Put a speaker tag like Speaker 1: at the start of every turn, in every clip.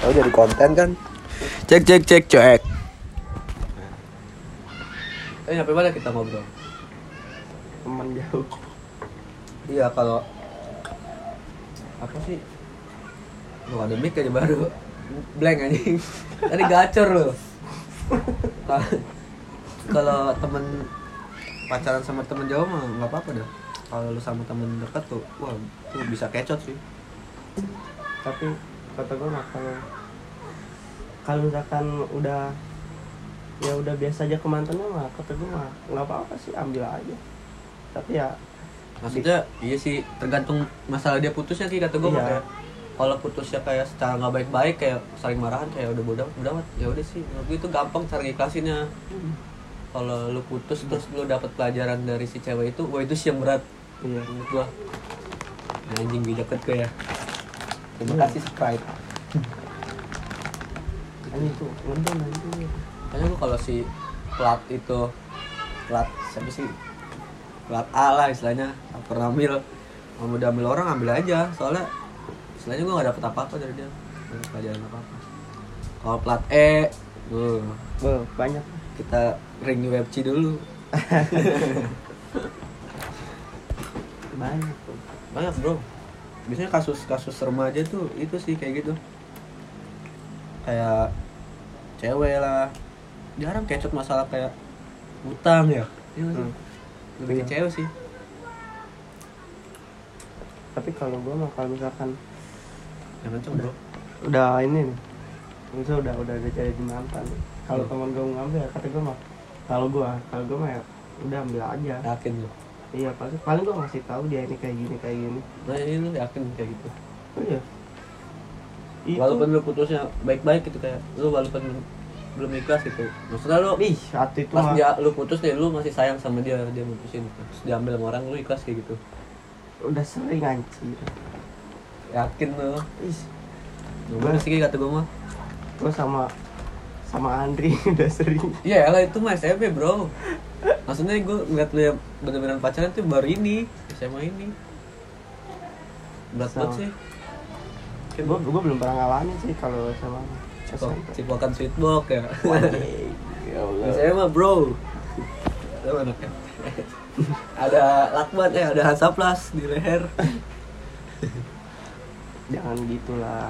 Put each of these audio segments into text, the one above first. Speaker 1: Oh,
Speaker 2: Tahu jadi konten kan?
Speaker 3: Cek cek cek cek.
Speaker 1: Eh nyampe mana kita ngobrol?
Speaker 2: Teman jauh.
Speaker 1: Iya kalau apa sih? Lu ada mic aja baru blank anjing. Tadi gacor lu. Ka- kalau temen pacaran sama temen jauh mah nggak apa-apa dah. Kalau lu sama temen dekat tuh, wah tuh bisa kecot sih.
Speaker 2: Tapi kata gue mah kalau kalau misalkan udah ya udah biasa aja ke mantannya mah kata gue mah nggak apa-apa sih ambil aja. Tapi ya
Speaker 1: Maksudnya iya sih tergantung masalah dia putusnya sih kata gue
Speaker 2: Iya.
Speaker 1: kayak kalau putusnya kayak secara nggak baik-baik kayak saling marahan kayak udah bodoh udah amat. ya udah sih menurut gue itu gampang cara ngiklasinnya kalau lu putus terus lu dapat pelajaran dari si cewek itu wah itu sih yang berat
Speaker 2: iya.
Speaker 1: menurut gua Nah, anjing bijak banget gue ya terima kasih subscribe
Speaker 2: Kan itu ngendon nanti.
Speaker 1: Kayaknya gue kalau si plat itu plat siapa sih? Plat A lah istilahnya. Nggak Pernah ambil kalau mau diambil orang ambil aja. Soalnya istilahnya gue gak dapet apa-apa dari dia. Nggak dapet Pelajaran apa-apa. Kalau plat E, tuh,
Speaker 2: Be, banyak.
Speaker 1: kita ring UFC dulu.
Speaker 2: Banyak tuh.
Speaker 1: Banyak bro. Biasanya kasus-kasus remaja tuh itu sih kayak gitu. Kayak cewek lah. Jarang kecut masalah kayak utang ya. Iya nggak sih?
Speaker 2: Hmm.
Speaker 1: Lebih ke
Speaker 2: Iya.
Speaker 1: cewek sih.
Speaker 2: Tapi kalau gue mah kalau misalkan
Speaker 1: Jangan kenceng bro.
Speaker 2: udah ini nih Maksudnya udah udah udah jadi mantan Iya. kalau
Speaker 1: Hmm.
Speaker 2: teman gue mau ngambil ya kata gue mah kalau gue kalau gue mah ya udah ambil aja
Speaker 1: Yakin lu.
Speaker 2: iya paling paling gue ngasih tahu dia ini kayak gini kayak gini
Speaker 1: Nah ini lu yakin kayak gitu.
Speaker 2: oh iya itu
Speaker 1: Walaupun lu putusnya baik-baik gitu kayak lu walaupun belum ikhlas gitu. Maksudnya lu
Speaker 2: ih saat itu
Speaker 1: pas
Speaker 2: mah
Speaker 1: dia lu putus deh lu masih sayang sama dia dia mutusin gitu. Terus diambil sama orang lu ikhlas kayak gitu.
Speaker 2: udah sering anjir
Speaker 1: Yakin lu.
Speaker 2: ih
Speaker 1: Gimana sih kayak kata gue mah?
Speaker 2: gue sama sama Andri udah sering
Speaker 1: Iya lah itu mah SMP bro. Maksudnya gue ngeliat lu yang bener-beneran pacaran tuh baru ini SMA ini. Berat banget
Speaker 2: Sama.
Speaker 1: sih.
Speaker 2: gue gue belum pernah ngalamin sih kalau sama SMP
Speaker 1: Cipokan sweet box ya.
Speaker 2: Wajib. Ya Allah.
Speaker 1: Saya mah bro. Lu anak ya? ada lakban eh ada hasaplas di leher.
Speaker 2: jangan gitulah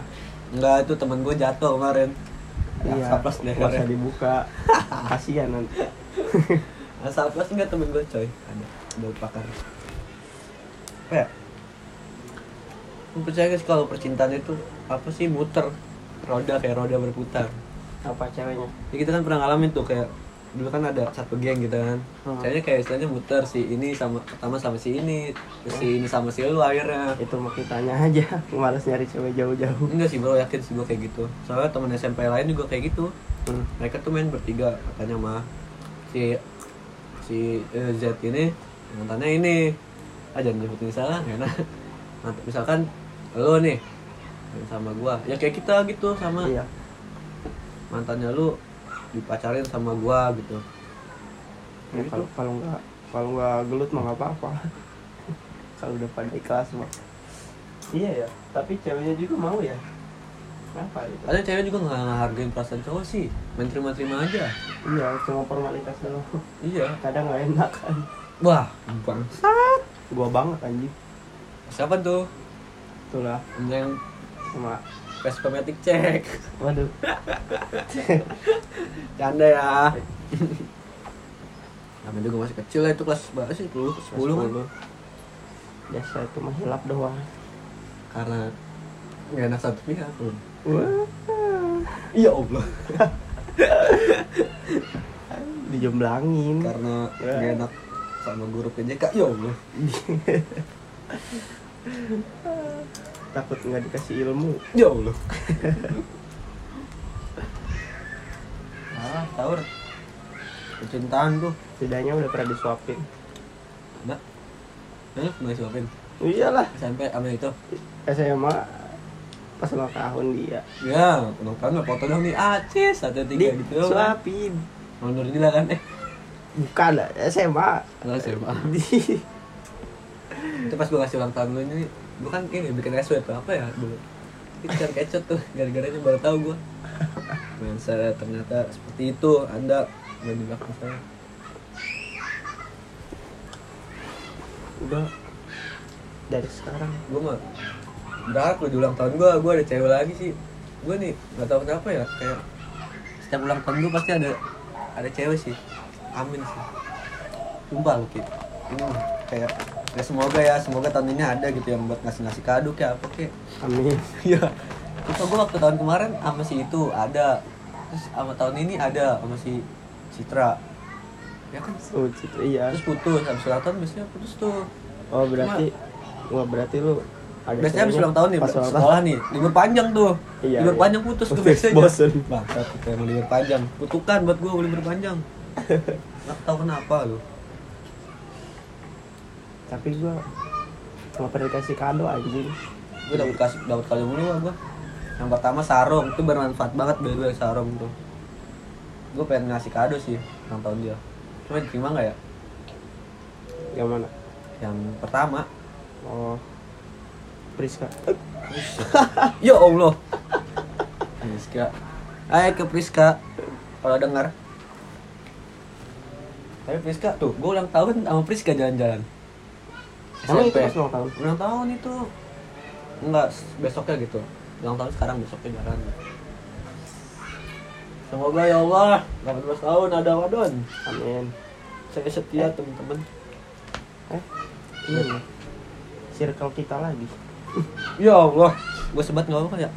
Speaker 1: Enggak itu temen gue jatuh kemarin. Ada
Speaker 2: iya
Speaker 1: hasaplas di
Speaker 2: nggak usah
Speaker 1: leher.
Speaker 2: dibuka kasihan nanti
Speaker 1: Hasaplas enggak temen gue coy. Ada bau pakar. Apa ya? Lu percaya guys kalau percintaan itu apa sih muter roda kayak roda berputar.
Speaker 2: apa ceweknya
Speaker 1: Jadi kita kan pernah ngalamin tuh kayak dulu kan ada satu geng gitu kan.
Speaker 2: Hmm.
Speaker 1: Kayaknya kayak istilahnya muter si ini sama pertama sama si ini, terus si ini sama si lu akhirnya.
Speaker 2: itu mau tanya aja malas nyari cewek jauh-jauh
Speaker 1: Enggak sih bro, yakin sih gue kayak gitu Soalnya temen SMP lain juga kayak gitu
Speaker 2: Hmm.
Speaker 1: Mereka tuh main bertiga katanya mah Si si eh, Z ini mantannya ini Ah jangan nyebutin salah, karena Misalkan lo nih main sama gua ya kayak kita gitu sama
Speaker 2: iya
Speaker 1: mantannya lu dipacarin sama gua gitu
Speaker 2: Ya, kalau kalau nggak kalau nggak gelut mah nggak apa-apa kalau udah pada ikhlas mah iya ya tapi ceweknya juga mau ya kenapa ya? itu
Speaker 1: ada cewek juga nggak ngehargain perasaan cowok sih main terima-terima aja
Speaker 2: iya cuma formalitas doang
Speaker 1: iya
Speaker 2: kadang nggak enak kan
Speaker 1: wah bangsat
Speaker 2: gua banget anjing
Speaker 1: siapa tuh
Speaker 2: itulah
Speaker 1: yang
Speaker 2: sama
Speaker 1: Vespa Matic cek
Speaker 2: waduh
Speaker 1: Canda ya. Namanya juga masih kecil lah itu kelas berapa sih? 10, 10 kan?
Speaker 2: biasa itu mah hilap doang
Speaker 1: Karena nggak enak satu pihak.
Speaker 2: Wah,
Speaker 1: Iya Allah.
Speaker 2: dijemblangin
Speaker 1: Karena
Speaker 2: Ya.
Speaker 1: nggak enak sama guru PJK. Ya Allah.
Speaker 2: takut nggak dikasih ilmu
Speaker 1: Ya Allah. ah, tahu Ren. Percintaan tuh.
Speaker 2: setidaknya udah pernah disuapin
Speaker 1: Nah. Eh, mau disuapin.
Speaker 2: iyalah
Speaker 1: SMP sama itu.
Speaker 2: SMA pas ulang tahun dia
Speaker 1: Ya, ulang tahun lah, foto dong nih. Acis, satu tiga gitu. doang.
Speaker 2: disuapin
Speaker 1: Mundur dila kan eh.
Speaker 2: bukan lah SMA
Speaker 1: Enggak SMA.
Speaker 2: di
Speaker 1: itu pas gue ngasih ulang tahun lu ini gue kan ini bikin SW apa, apa ya dulu kejar kecut tuh gara-gara itu baru tahu gue mindset ternyata seperti itu anda main di belakang saya
Speaker 2: udah dari sekarang
Speaker 1: gue mah berharap lu di ulang tahun gue gue ada cewek lagi sih gue nih gak tau kenapa ya kayak setiap ulang tahun gue pasti ada ada cewek sih amin sih sumpah lu Ki. ini kayak ya semoga ya semoga tahun ini ada gitu yang buat ngasih ngasih kado kayak apa kayak
Speaker 2: amin
Speaker 1: Iya. Terus gue waktu tahun kemarin sama si itu ada. Terus sama tahun ini ada sama si Citra. Ya kan.
Speaker 2: oh Citra, iya
Speaker 1: Terus putus, habis ulang tahun biasanya putus tuh.
Speaker 2: oh berarti wah berarti lu ada
Speaker 1: biasanya habis
Speaker 2: ceweknya
Speaker 1: ulang tahun nih,
Speaker 2: pas ulang
Speaker 1: sekolah nih, libur panjang tuh.
Speaker 2: Iya,
Speaker 1: libur
Speaker 2: iya.
Speaker 1: panjang putus tuh
Speaker 2: Putus,
Speaker 1: biasanya.
Speaker 2: bosen.
Speaker 1: Bangsat, kita emang libur panjang. Kutukan buat gue libur panjang. Gak tau kenapa lu.
Speaker 2: tapi gua nggak pernah dikasih kado anjing
Speaker 1: Gue dapet kasih dapet kado mulu lah gue. Yang pertama sarung, itu bermanfaat banget by the way sarung tuh. Gue pengen ngasih kado sih ulang tahun dia. Cuma diterima nggak ya?
Speaker 2: yang mana
Speaker 1: yang pertama
Speaker 2: oh Priska
Speaker 1: ya allah Priska ayo ke Priska kalau dengar tapi Priska tuh gue ulang tahun sama Priska jalan-jalan
Speaker 2: Emang itu
Speaker 1: SMP.
Speaker 2: pas ulang tahun?
Speaker 1: ulang tahun itu enggak s- besoknya gitu ulang tahun sekarang besoknya jalan semoga ya Allah 18 tahun ada wadon
Speaker 2: amin
Speaker 1: saya setia teman-teman
Speaker 2: eh
Speaker 1: Iya.
Speaker 2: ini nih, circle kita lagi
Speaker 1: ya Allah gue sebat ngomong ya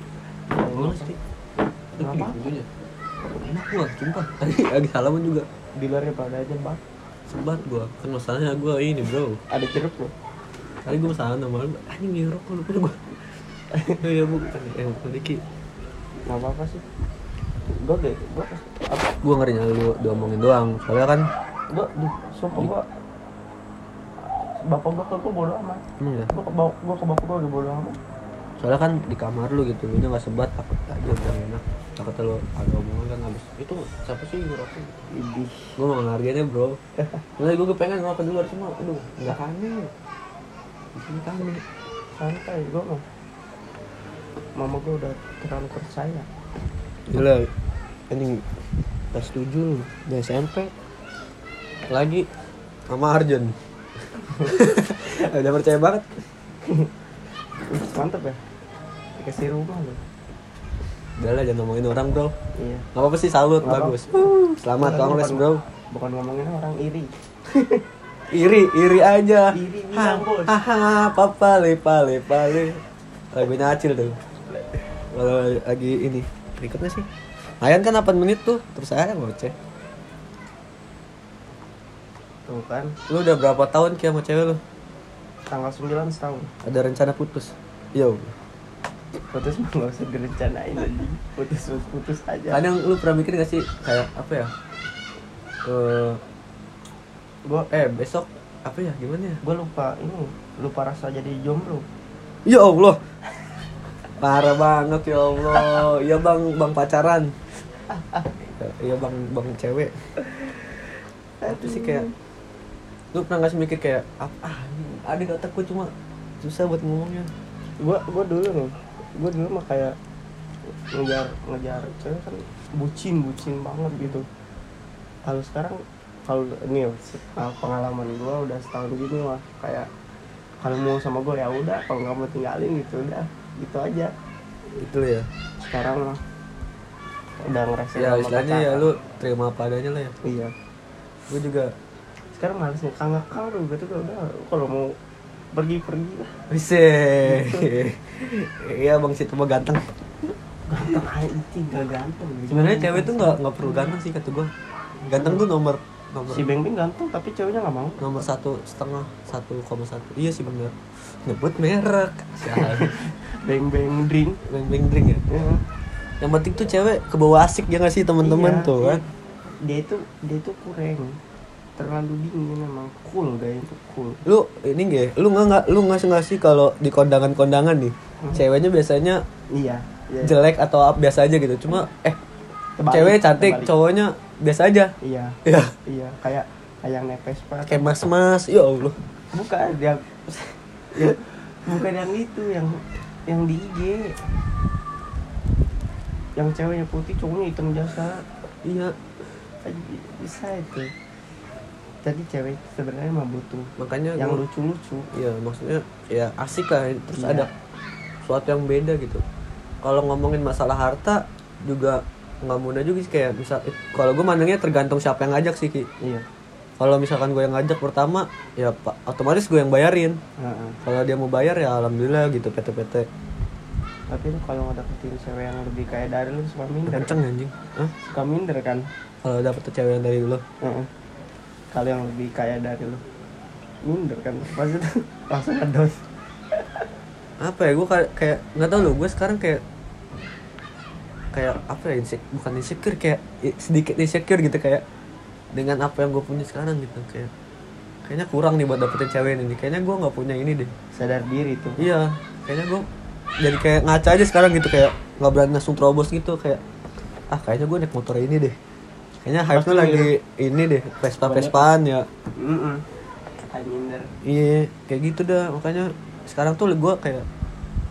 Speaker 1: ngomong sih
Speaker 2: Kenapa?
Speaker 1: Ujungnya. Enak gua, sumpah. Tadi lagi salaman juga.
Speaker 2: di luar pada aja bang
Speaker 1: Sebat gua. Kan masalahnya gua ini, Bro.
Speaker 2: ada jeruk loh
Speaker 1: Tadi gua salaman sama lu, anjing ngerok lu lupa gua. Ya bu, eh bukan Diki.
Speaker 2: nggak apa apa sih gue deh gue apa
Speaker 1: Gua ngerinya lu diomongin doang. Soalnya kan
Speaker 2: gue duh sumpah gue bapak gue ke gue bodo amat
Speaker 1: emang ya.
Speaker 2: gue ke bapak gue ke bapak gue udah bodo amat
Speaker 1: Soalnya kan di kamar lu gitu, lu enggak sebat takut aja udah enak. Takut lu ada omongan kan habis. Itu siapa sih ngerokok?
Speaker 2: Idih.
Speaker 1: Gue mau ngehargainnya bro Mulai gue pengen makan dulu harus mau Aduh, nggak aneh Di sini kami
Speaker 2: santai gue mah mama gue udah terlalu percaya
Speaker 1: Gila,
Speaker 2: anjing kelas tujuh di SMP lagi
Speaker 1: sama Arjun udah percaya banget
Speaker 2: mantep ya dikasih rumah loh
Speaker 1: udah lah jangan ngomongin orang bro
Speaker 2: iya
Speaker 1: nggak apa-apa sih salut
Speaker 2: Nggak
Speaker 1: bagus Uh, selamat
Speaker 2: Bukan-
Speaker 1: kongres
Speaker 2: bukan-
Speaker 1: bro
Speaker 2: bukan ngomongin orang iri
Speaker 1: iri iri aja
Speaker 2: Iri
Speaker 1: Ha,
Speaker 2: bilang, Bos.
Speaker 1: haha papa le pale pale lagunya acil tuh kalau lagi ini berikutnya sih Ayan kan 8 menit tuh terus saya ngoceh
Speaker 2: tuh kan
Speaker 1: lu udah berapa tahun kayak sama cewek lu
Speaker 2: tanggal 9 setahun
Speaker 1: ada rencana putus yo
Speaker 2: putus mah nggak usah direncanain aja putus putus, putus aja
Speaker 1: Ya. kadang lu pernah mikir gak sih kayak apa ya Eh,
Speaker 2: gue
Speaker 1: eh besok apa ya gimana ya
Speaker 2: gue lupa ini lupa rasa jadi jomblo
Speaker 1: Ya Allah. Parah banget ya Allah. Ya Bang, Bang pacaran. Ya Bang, Bang cewek. Itu sih kayak lu pernah gak sih mikir kayak apa ah, ini ada di otak gue cuma susah buat ngomongnya
Speaker 2: gue gue dulu nih gue dulu mah kayak ngejar ngejar cewek kan bucin bucin banget gitu kalau sekarang kalau ini ya, se- uh, pengalaman gue udah setahun gini lah kayak kalau mau sama gue ya udah kalau nggak mau tinggalin gitu udah gitu aja
Speaker 1: gitu ya
Speaker 2: sekarang mah udah ngerasain
Speaker 1: ya
Speaker 2: sama
Speaker 1: istilahnya ya
Speaker 2: pacaran.
Speaker 1: lu terima apa adanya lah ya
Speaker 2: iya
Speaker 1: gue juga
Speaker 2: sekarang males ngekang ngekang tuh gitu tuh udah kalau mau pergi pergi lah
Speaker 1: bisa iya bang situ mah ganteng
Speaker 2: ganteng aja anjing, nggak ganteng
Speaker 1: sebenarnya cewek tuh nggak nggak perlu ganteng sih kata gue ganteng tuh nomor nomor
Speaker 2: si Beng Beng ganteng tapi ceweknya nggak mau
Speaker 1: nomor satu setengah satu koma satu iya sih bener nyebut merek
Speaker 2: Beng Beng drink
Speaker 1: beng beng drink ya
Speaker 2: Iya.
Speaker 1: yang penting tuh cewek ke bawah asik ya nggak sih teman-teman
Speaker 2: Iya,
Speaker 1: tuh
Speaker 2: iya.
Speaker 1: kan
Speaker 2: dia itu dia itu kurang terlalu dingin emang cool gaya itu cool
Speaker 1: lu ini gak lu nggak nggak lu nggak sih- nggak sih kalau di kondangan kondangan nih
Speaker 2: Hmm.
Speaker 1: ceweknya biasanya
Speaker 2: iya iya.
Speaker 1: jelek atau apa, biasa aja gitu cuma eh
Speaker 2: Kebalik,
Speaker 1: cewek cantik
Speaker 2: kebalik.
Speaker 1: cowoknya biasa aja
Speaker 2: iya
Speaker 1: ya
Speaker 2: iya kayak kayak nepes banget
Speaker 1: kayak mas mas ya allah
Speaker 2: bukan yang yang- bukan yang itu yang yang di IG yang ceweknya putih cowoknya hitam jasa
Speaker 1: iya
Speaker 2: Tadi bisa itu jadi cewek sebenarnya mah butuh
Speaker 1: makanya
Speaker 2: yang
Speaker 1: gua-
Speaker 2: lucu lucu
Speaker 1: Iya maksudnya ya asik lah terus
Speaker 2: Iya.
Speaker 1: ada sesuatu yang beda gitu. Kalau ngomongin masalah harta juga nggak mudah juga sih kayak bisa kalau gue mandangnya tergantung siapa yang ngajak sih ki.
Speaker 2: iya
Speaker 1: Kalau misalkan gue yang ngajak pertama ya pak otomatis gue yang bayarin.
Speaker 2: Heeh.
Speaker 1: Kalau dia mau bayar ya alhamdulillah gitu PT-PT.
Speaker 2: tapi lu kalau ngedeketin cewek yang lebih kaya dari lu suka minder
Speaker 1: Kenceng anjing. Hah?
Speaker 2: suka minder kan
Speaker 1: Kalau dapet tuh cewek yang dari dulu.
Speaker 2: Heeh. kalau yang lebih kaya dari lu minder kan pasti tuh langsung ngedown
Speaker 1: Apa ya gue kayak nggak tau loh gue sekarang kayak kayak apa ya insek bukan insecure kayak i- sedikit insecure gitu kayak dengan apa yang gue punya sekarang gitu kayak kayaknya kurang nih buat dapetin cewek ini kayaknya gue nggak punya ini deh
Speaker 2: sadar diri tuh
Speaker 1: iya kayaknya gue jadi kayak ngaca aja sekarang gitu kayak nggak berani langsung terobos gitu kayak ah kayaknya gue naik motor ini deh kayaknya hype nya
Speaker 2: Pasti
Speaker 1: lagi ini deh Vespa Vespaan ya
Speaker 2: Mm-mm. Kayak minder
Speaker 1: iya kayak gitu dah makanya sekarang tuh gue kayak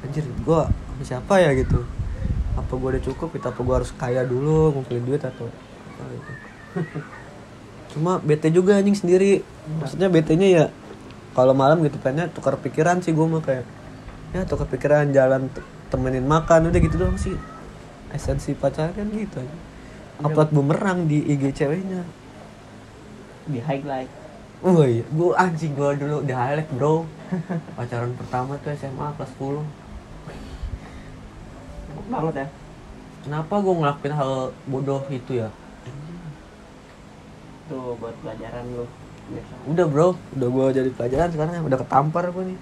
Speaker 1: anjir gue sama siapa ya gitu apa gue udah cukup gitu apa gue harus kaya dulu ngumpulin duit atau apa gitu cuma bete juga anjing sendiri maksudnya bete nya ya kalau malam gitu pengennya tukar pikiran sih gue mah kayak ya tukar pikiran jalan t- temenin makan udah gitu doang sih esensi pacaran kan gitu aja upload bumerang di IG ceweknya
Speaker 2: di highlight
Speaker 1: Woi, gua anjing gua dulu di highlight bro. Pacaran pertama tuh SMA kelas 10.
Speaker 2: banget ya
Speaker 1: Kenapa gua ngelakuin hal bodoh itu ya?
Speaker 2: tuh buat pelajaran lu biasa
Speaker 1: Udah bro, udah gua jadi pelajaran sekarang ya, udah ketampar gua nih.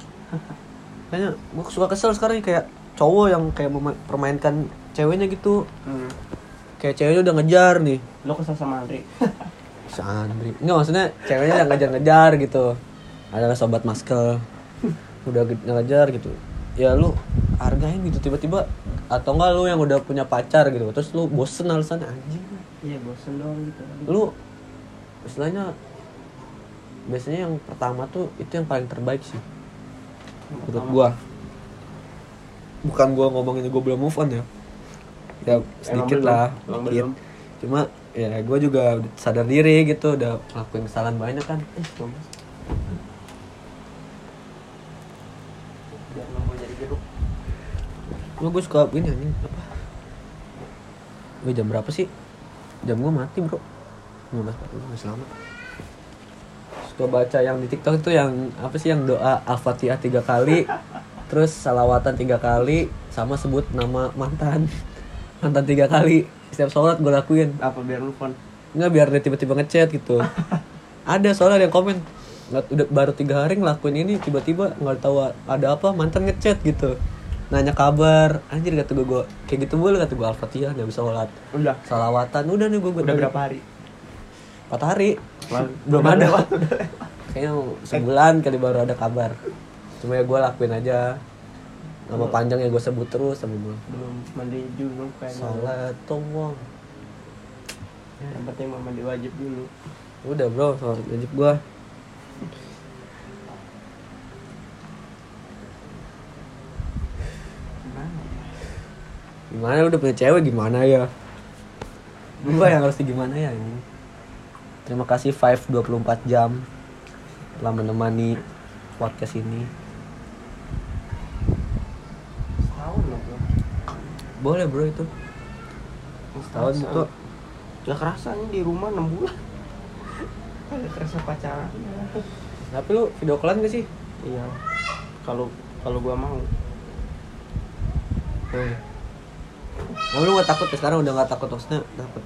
Speaker 1: Kayaknya gua suka kesel sekarang kayak cowok yang kayak mempermainkan ceweknya gitu.
Speaker 2: hmm.
Speaker 1: Kayak ceweknya udah ngejar nih.
Speaker 2: lu kesel sama Andri
Speaker 1: Si Andri. Enggak maksudnya ceweknya yang ngejar-ngejar gitu. Ada sobat masker. Udah ge- ngejar gitu. Ya lu hargain gitu tiba-tiba atau enggak lu yang udah punya pacar gitu. Terus lu bosen alasan anjing.
Speaker 2: iya bosen doang gitu
Speaker 1: Lu istilahnya biasanya yang pertama tuh itu yang paling terbaik sih menurut gua. Bukan gua ngomongin gua belum move on ya. Ya sedikit
Speaker 2: belum,
Speaker 1: lah,
Speaker 2: emang
Speaker 1: sedikit.
Speaker 2: belum.
Speaker 1: Cuma ya gua juga udah sadar diri gitu, udah ngelakuin kesalahan banyak kan.
Speaker 2: eh bagus biar nggak jadi jeruk
Speaker 1: Cuma gua suka gini anjing apa? Gua jam berapa sih? Jam gua mati, Bro. 15.40 masih lama. Suka baca yang di TikTok itu yang apa sih yang doa Al-Fatihah tiga kali, terus salawatan tiga kali, sama sebut nama mantan. Mantan tiga kali. Setiap sholat gua lakuin.
Speaker 2: apa biar lu pon
Speaker 1: Nggak biar dia tiba-tiba ngechat gitu. ada soalnya ada yang komen. Nggak, udah baru tiga hari ngelakuin ini tiba-tiba nggak tahu ada apa mantan ngechat gitu. Nanya kabar, anjir kata gue, gua, kayak gitu boleh kata gue Al-Fatihah nggak bisa sholat.
Speaker 2: udah
Speaker 1: Salawatan udah nih gue
Speaker 2: udah berapa hari
Speaker 1: Empat hari.
Speaker 2: Lalu-
Speaker 1: Belum
Speaker 2: udah
Speaker 1: ada.
Speaker 2: lewat.
Speaker 1: Kayaknya sebulan kali baru ada kabar. Cuma ya gue lakuin aja. Nama panjang ya gue sebut terus sama gue.
Speaker 2: belum mandi dulu kayaknya
Speaker 1: Salat tolong.
Speaker 2: yang penting mau mandi wajib dulu
Speaker 1: Udah bro, sholat wajib gue.
Speaker 2: gimana ya?
Speaker 1: Gimana udah punya cewek gimana ya? Gue yang harus gimana ya ini. Terima kasih Five 24 jam telah menemani podcast ini.
Speaker 2: setahun loh bro
Speaker 1: Boleh bro itu.
Speaker 2: Oh,
Speaker 1: Setahun itu
Speaker 2: gak kerasa nih di rumah 6 bulan gak kerasa pacaran
Speaker 1: Tapi lu video callan gak sih?
Speaker 2: iya kalau kalau gua mau
Speaker 1: Nah, lu gak takut ya sekarang udah gak takut maksudnya takut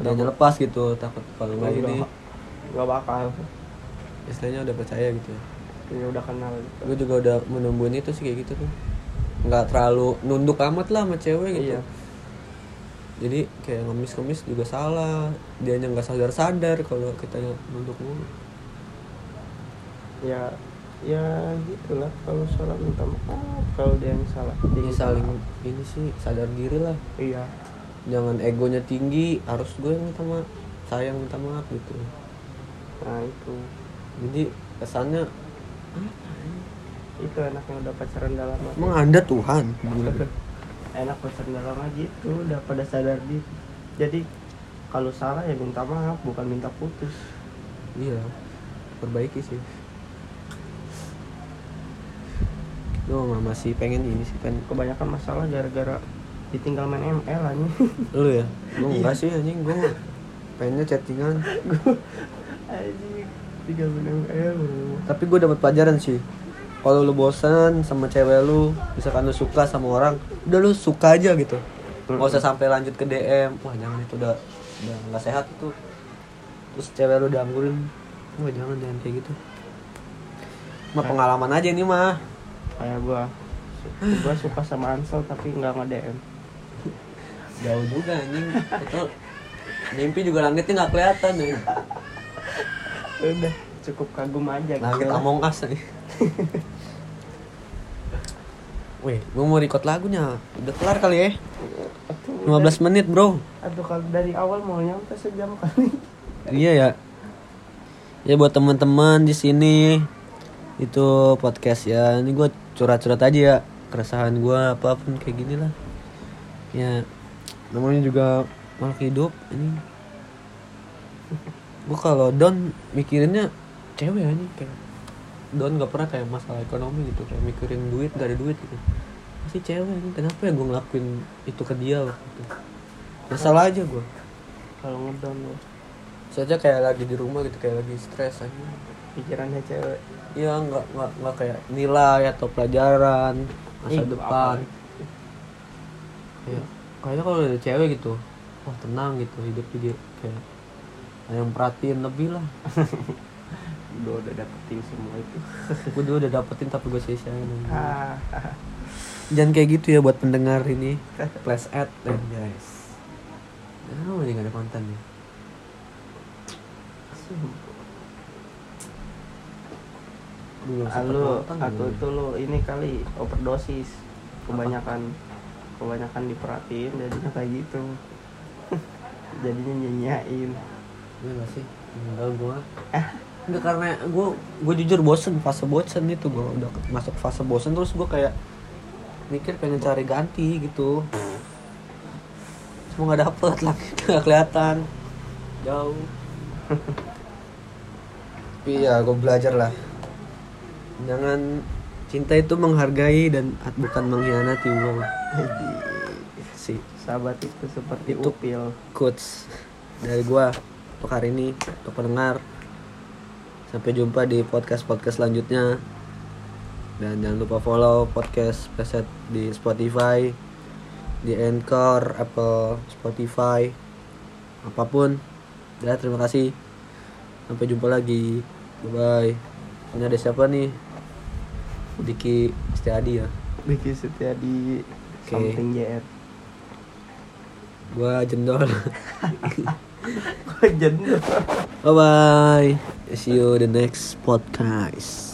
Speaker 1: udah aja lepas gitu takut kalau nggak
Speaker 2: Udah.
Speaker 1: ini
Speaker 2: gak bakal
Speaker 1: istilahnya udah percaya gitu ya
Speaker 2: ya udah kenal gitu.
Speaker 1: gue juga udah menumbuhin itu sih kayak gitu tuh nggak terlalu nunduk amat lah sama cewek gitu
Speaker 2: Iya.
Speaker 1: jadi kayak ngemis-ngemis juga salah dia yang nggak sadar-sadar kalau kita nunduk mulu
Speaker 2: ya ya gitulah kalau salah minta maaf kalau dia yang salah dia
Speaker 1: jadi
Speaker 2: minta
Speaker 1: saling
Speaker 2: maaf.
Speaker 1: ini sih sadar diri lah
Speaker 2: iya
Speaker 1: jangan egonya tinggi harus gue yang minta maaf sayang minta maaf gitu
Speaker 2: nah itu
Speaker 1: jadi kesannya
Speaker 2: itu enaknya udah pacaran dalam
Speaker 1: emang anda Tuhan
Speaker 2: enak pacar dalam aja gitu udah pada sadar diri jadi kalau salah ya minta maaf bukan minta putus
Speaker 1: iya perbaiki sih Lo masih pengen ini sih pengen
Speaker 2: kebanyakan masalah gara-gara ditinggal main ML aja
Speaker 1: lu ya gue enggak sih anjing gue pengennya chattingan
Speaker 2: anjing tinggal main ML mulu.
Speaker 1: tapi gue dapat pelajaran sih kalau lu bosan sama cewek lu misalkan lu suka sama orang udah lu suka aja gitu nggak usah sampai lanjut ke DM wah jangan itu udah udah nggak sehat itu terus cewek lu dianggurin wah jangan jangan kayak gitu mah pengalaman aja ini mah
Speaker 2: kayak gua gua suka sama Ansel tapi nggak nge DM
Speaker 1: jauh juga anjing itu mimpi juga langitnya nggak kelihatan ya
Speaker 2: Ya udah cukup kagum aja gitu.
Speaker 1: langit
Speaker 2: lah.
Speaker 1: Among Us nih Weh, gue mau record lagunya. Udah kelar kali ya.
Speaker 2: Aduh,
Speaker 1: 15 menit, Bro.
Speaker 2: Aduh kalau dari awal mau nyampe sejam kali.
Speaker 1: Iya ya. Ya buat teman-teman di sini itu podcast ya. Ini gue curhat-curhat aja ya keresahan gue apapun kayak gini lah. Ya namanya juga makhluk hidup ini. Gue kalau down mikirinnya cewek ini kayak down gak pernah kayak masalah ekonomi gitu kayak mikirin duit gak ada duit gitu masih cewek ini kenapa ya gue ngelakuin itu ke dia waktu itu masalah aja gue
Speaker 2: Kalau ngedown lu
Speaker 1: saja kayak lagi di rumah gitu kayak lagi stres aja
Speaker 2: pikirannya cewek.
Speaker 1: ya nggak nggak nggak kayak nilai atau pelajaran masa
Speaker 2: Ih,
Speaker 1: depan
Speaker 2: apa?
Speaker 1: ya kayaknya kalau ada cewek gitu wah tenang gitu hidup dia kayak ada yang perhatiin lebih lah
Speaker 2: Udah udah dapetin semua itu.
Speaker 1: gue dulu udah dapetin tapi gue sia-siain
Speaker 2: Ah, ah.
Speaker 1: jangan kayak gitu ya buat pendengar ini flash ad eh, dan guys Oh, ini gak ada konten ya. Aduh, gak usah
Speaker 2: Ah, lu
Speaker 1: konten
Speaker 2: aku
Speaker 1: ya.
Speaker 2: tuh lu ini kali overdosis kebanyakan kebanyakan diperhatiin jadinya kayak gitu. jadinya nyanyain.
Speaker 1: Iya gak sih? Enggak gua. Enggak karena gua gua jujur bosen fase bosen itu gua udah ke- masuk fase bosen terus gua kayak mikir pengen cari ganti gitu. Cuma nggak dapet lagi nggak kelihatan jauh. Tapi ya gua belajar lah. Jangan cinta itu menghargai dan at- bukan mengkhianati gua. Si
Speaker 2: Sahabat itu seperti
Speaker 1: Itu-
Speaker 2: upil.
Speaker 1: quotes dari gua untuk hari ini untuk pendengar sampai jumpa di podcast podcast selanjutnya dan jangan lupa follow podcast preset di Spotify di Anchor Apple Spotify apapun ya terima kasih sampai jumpa lagi bye bye ini ada siapa nih Diki Setiadi ya
Speaker 2: Diki Setiadi
Speaker 1: Oke.
Speaker 2: something JR.
Speaker 1: gua jendol
Speaker 2: Gue jendel.
Speaker 1: bye bye see you the next podcast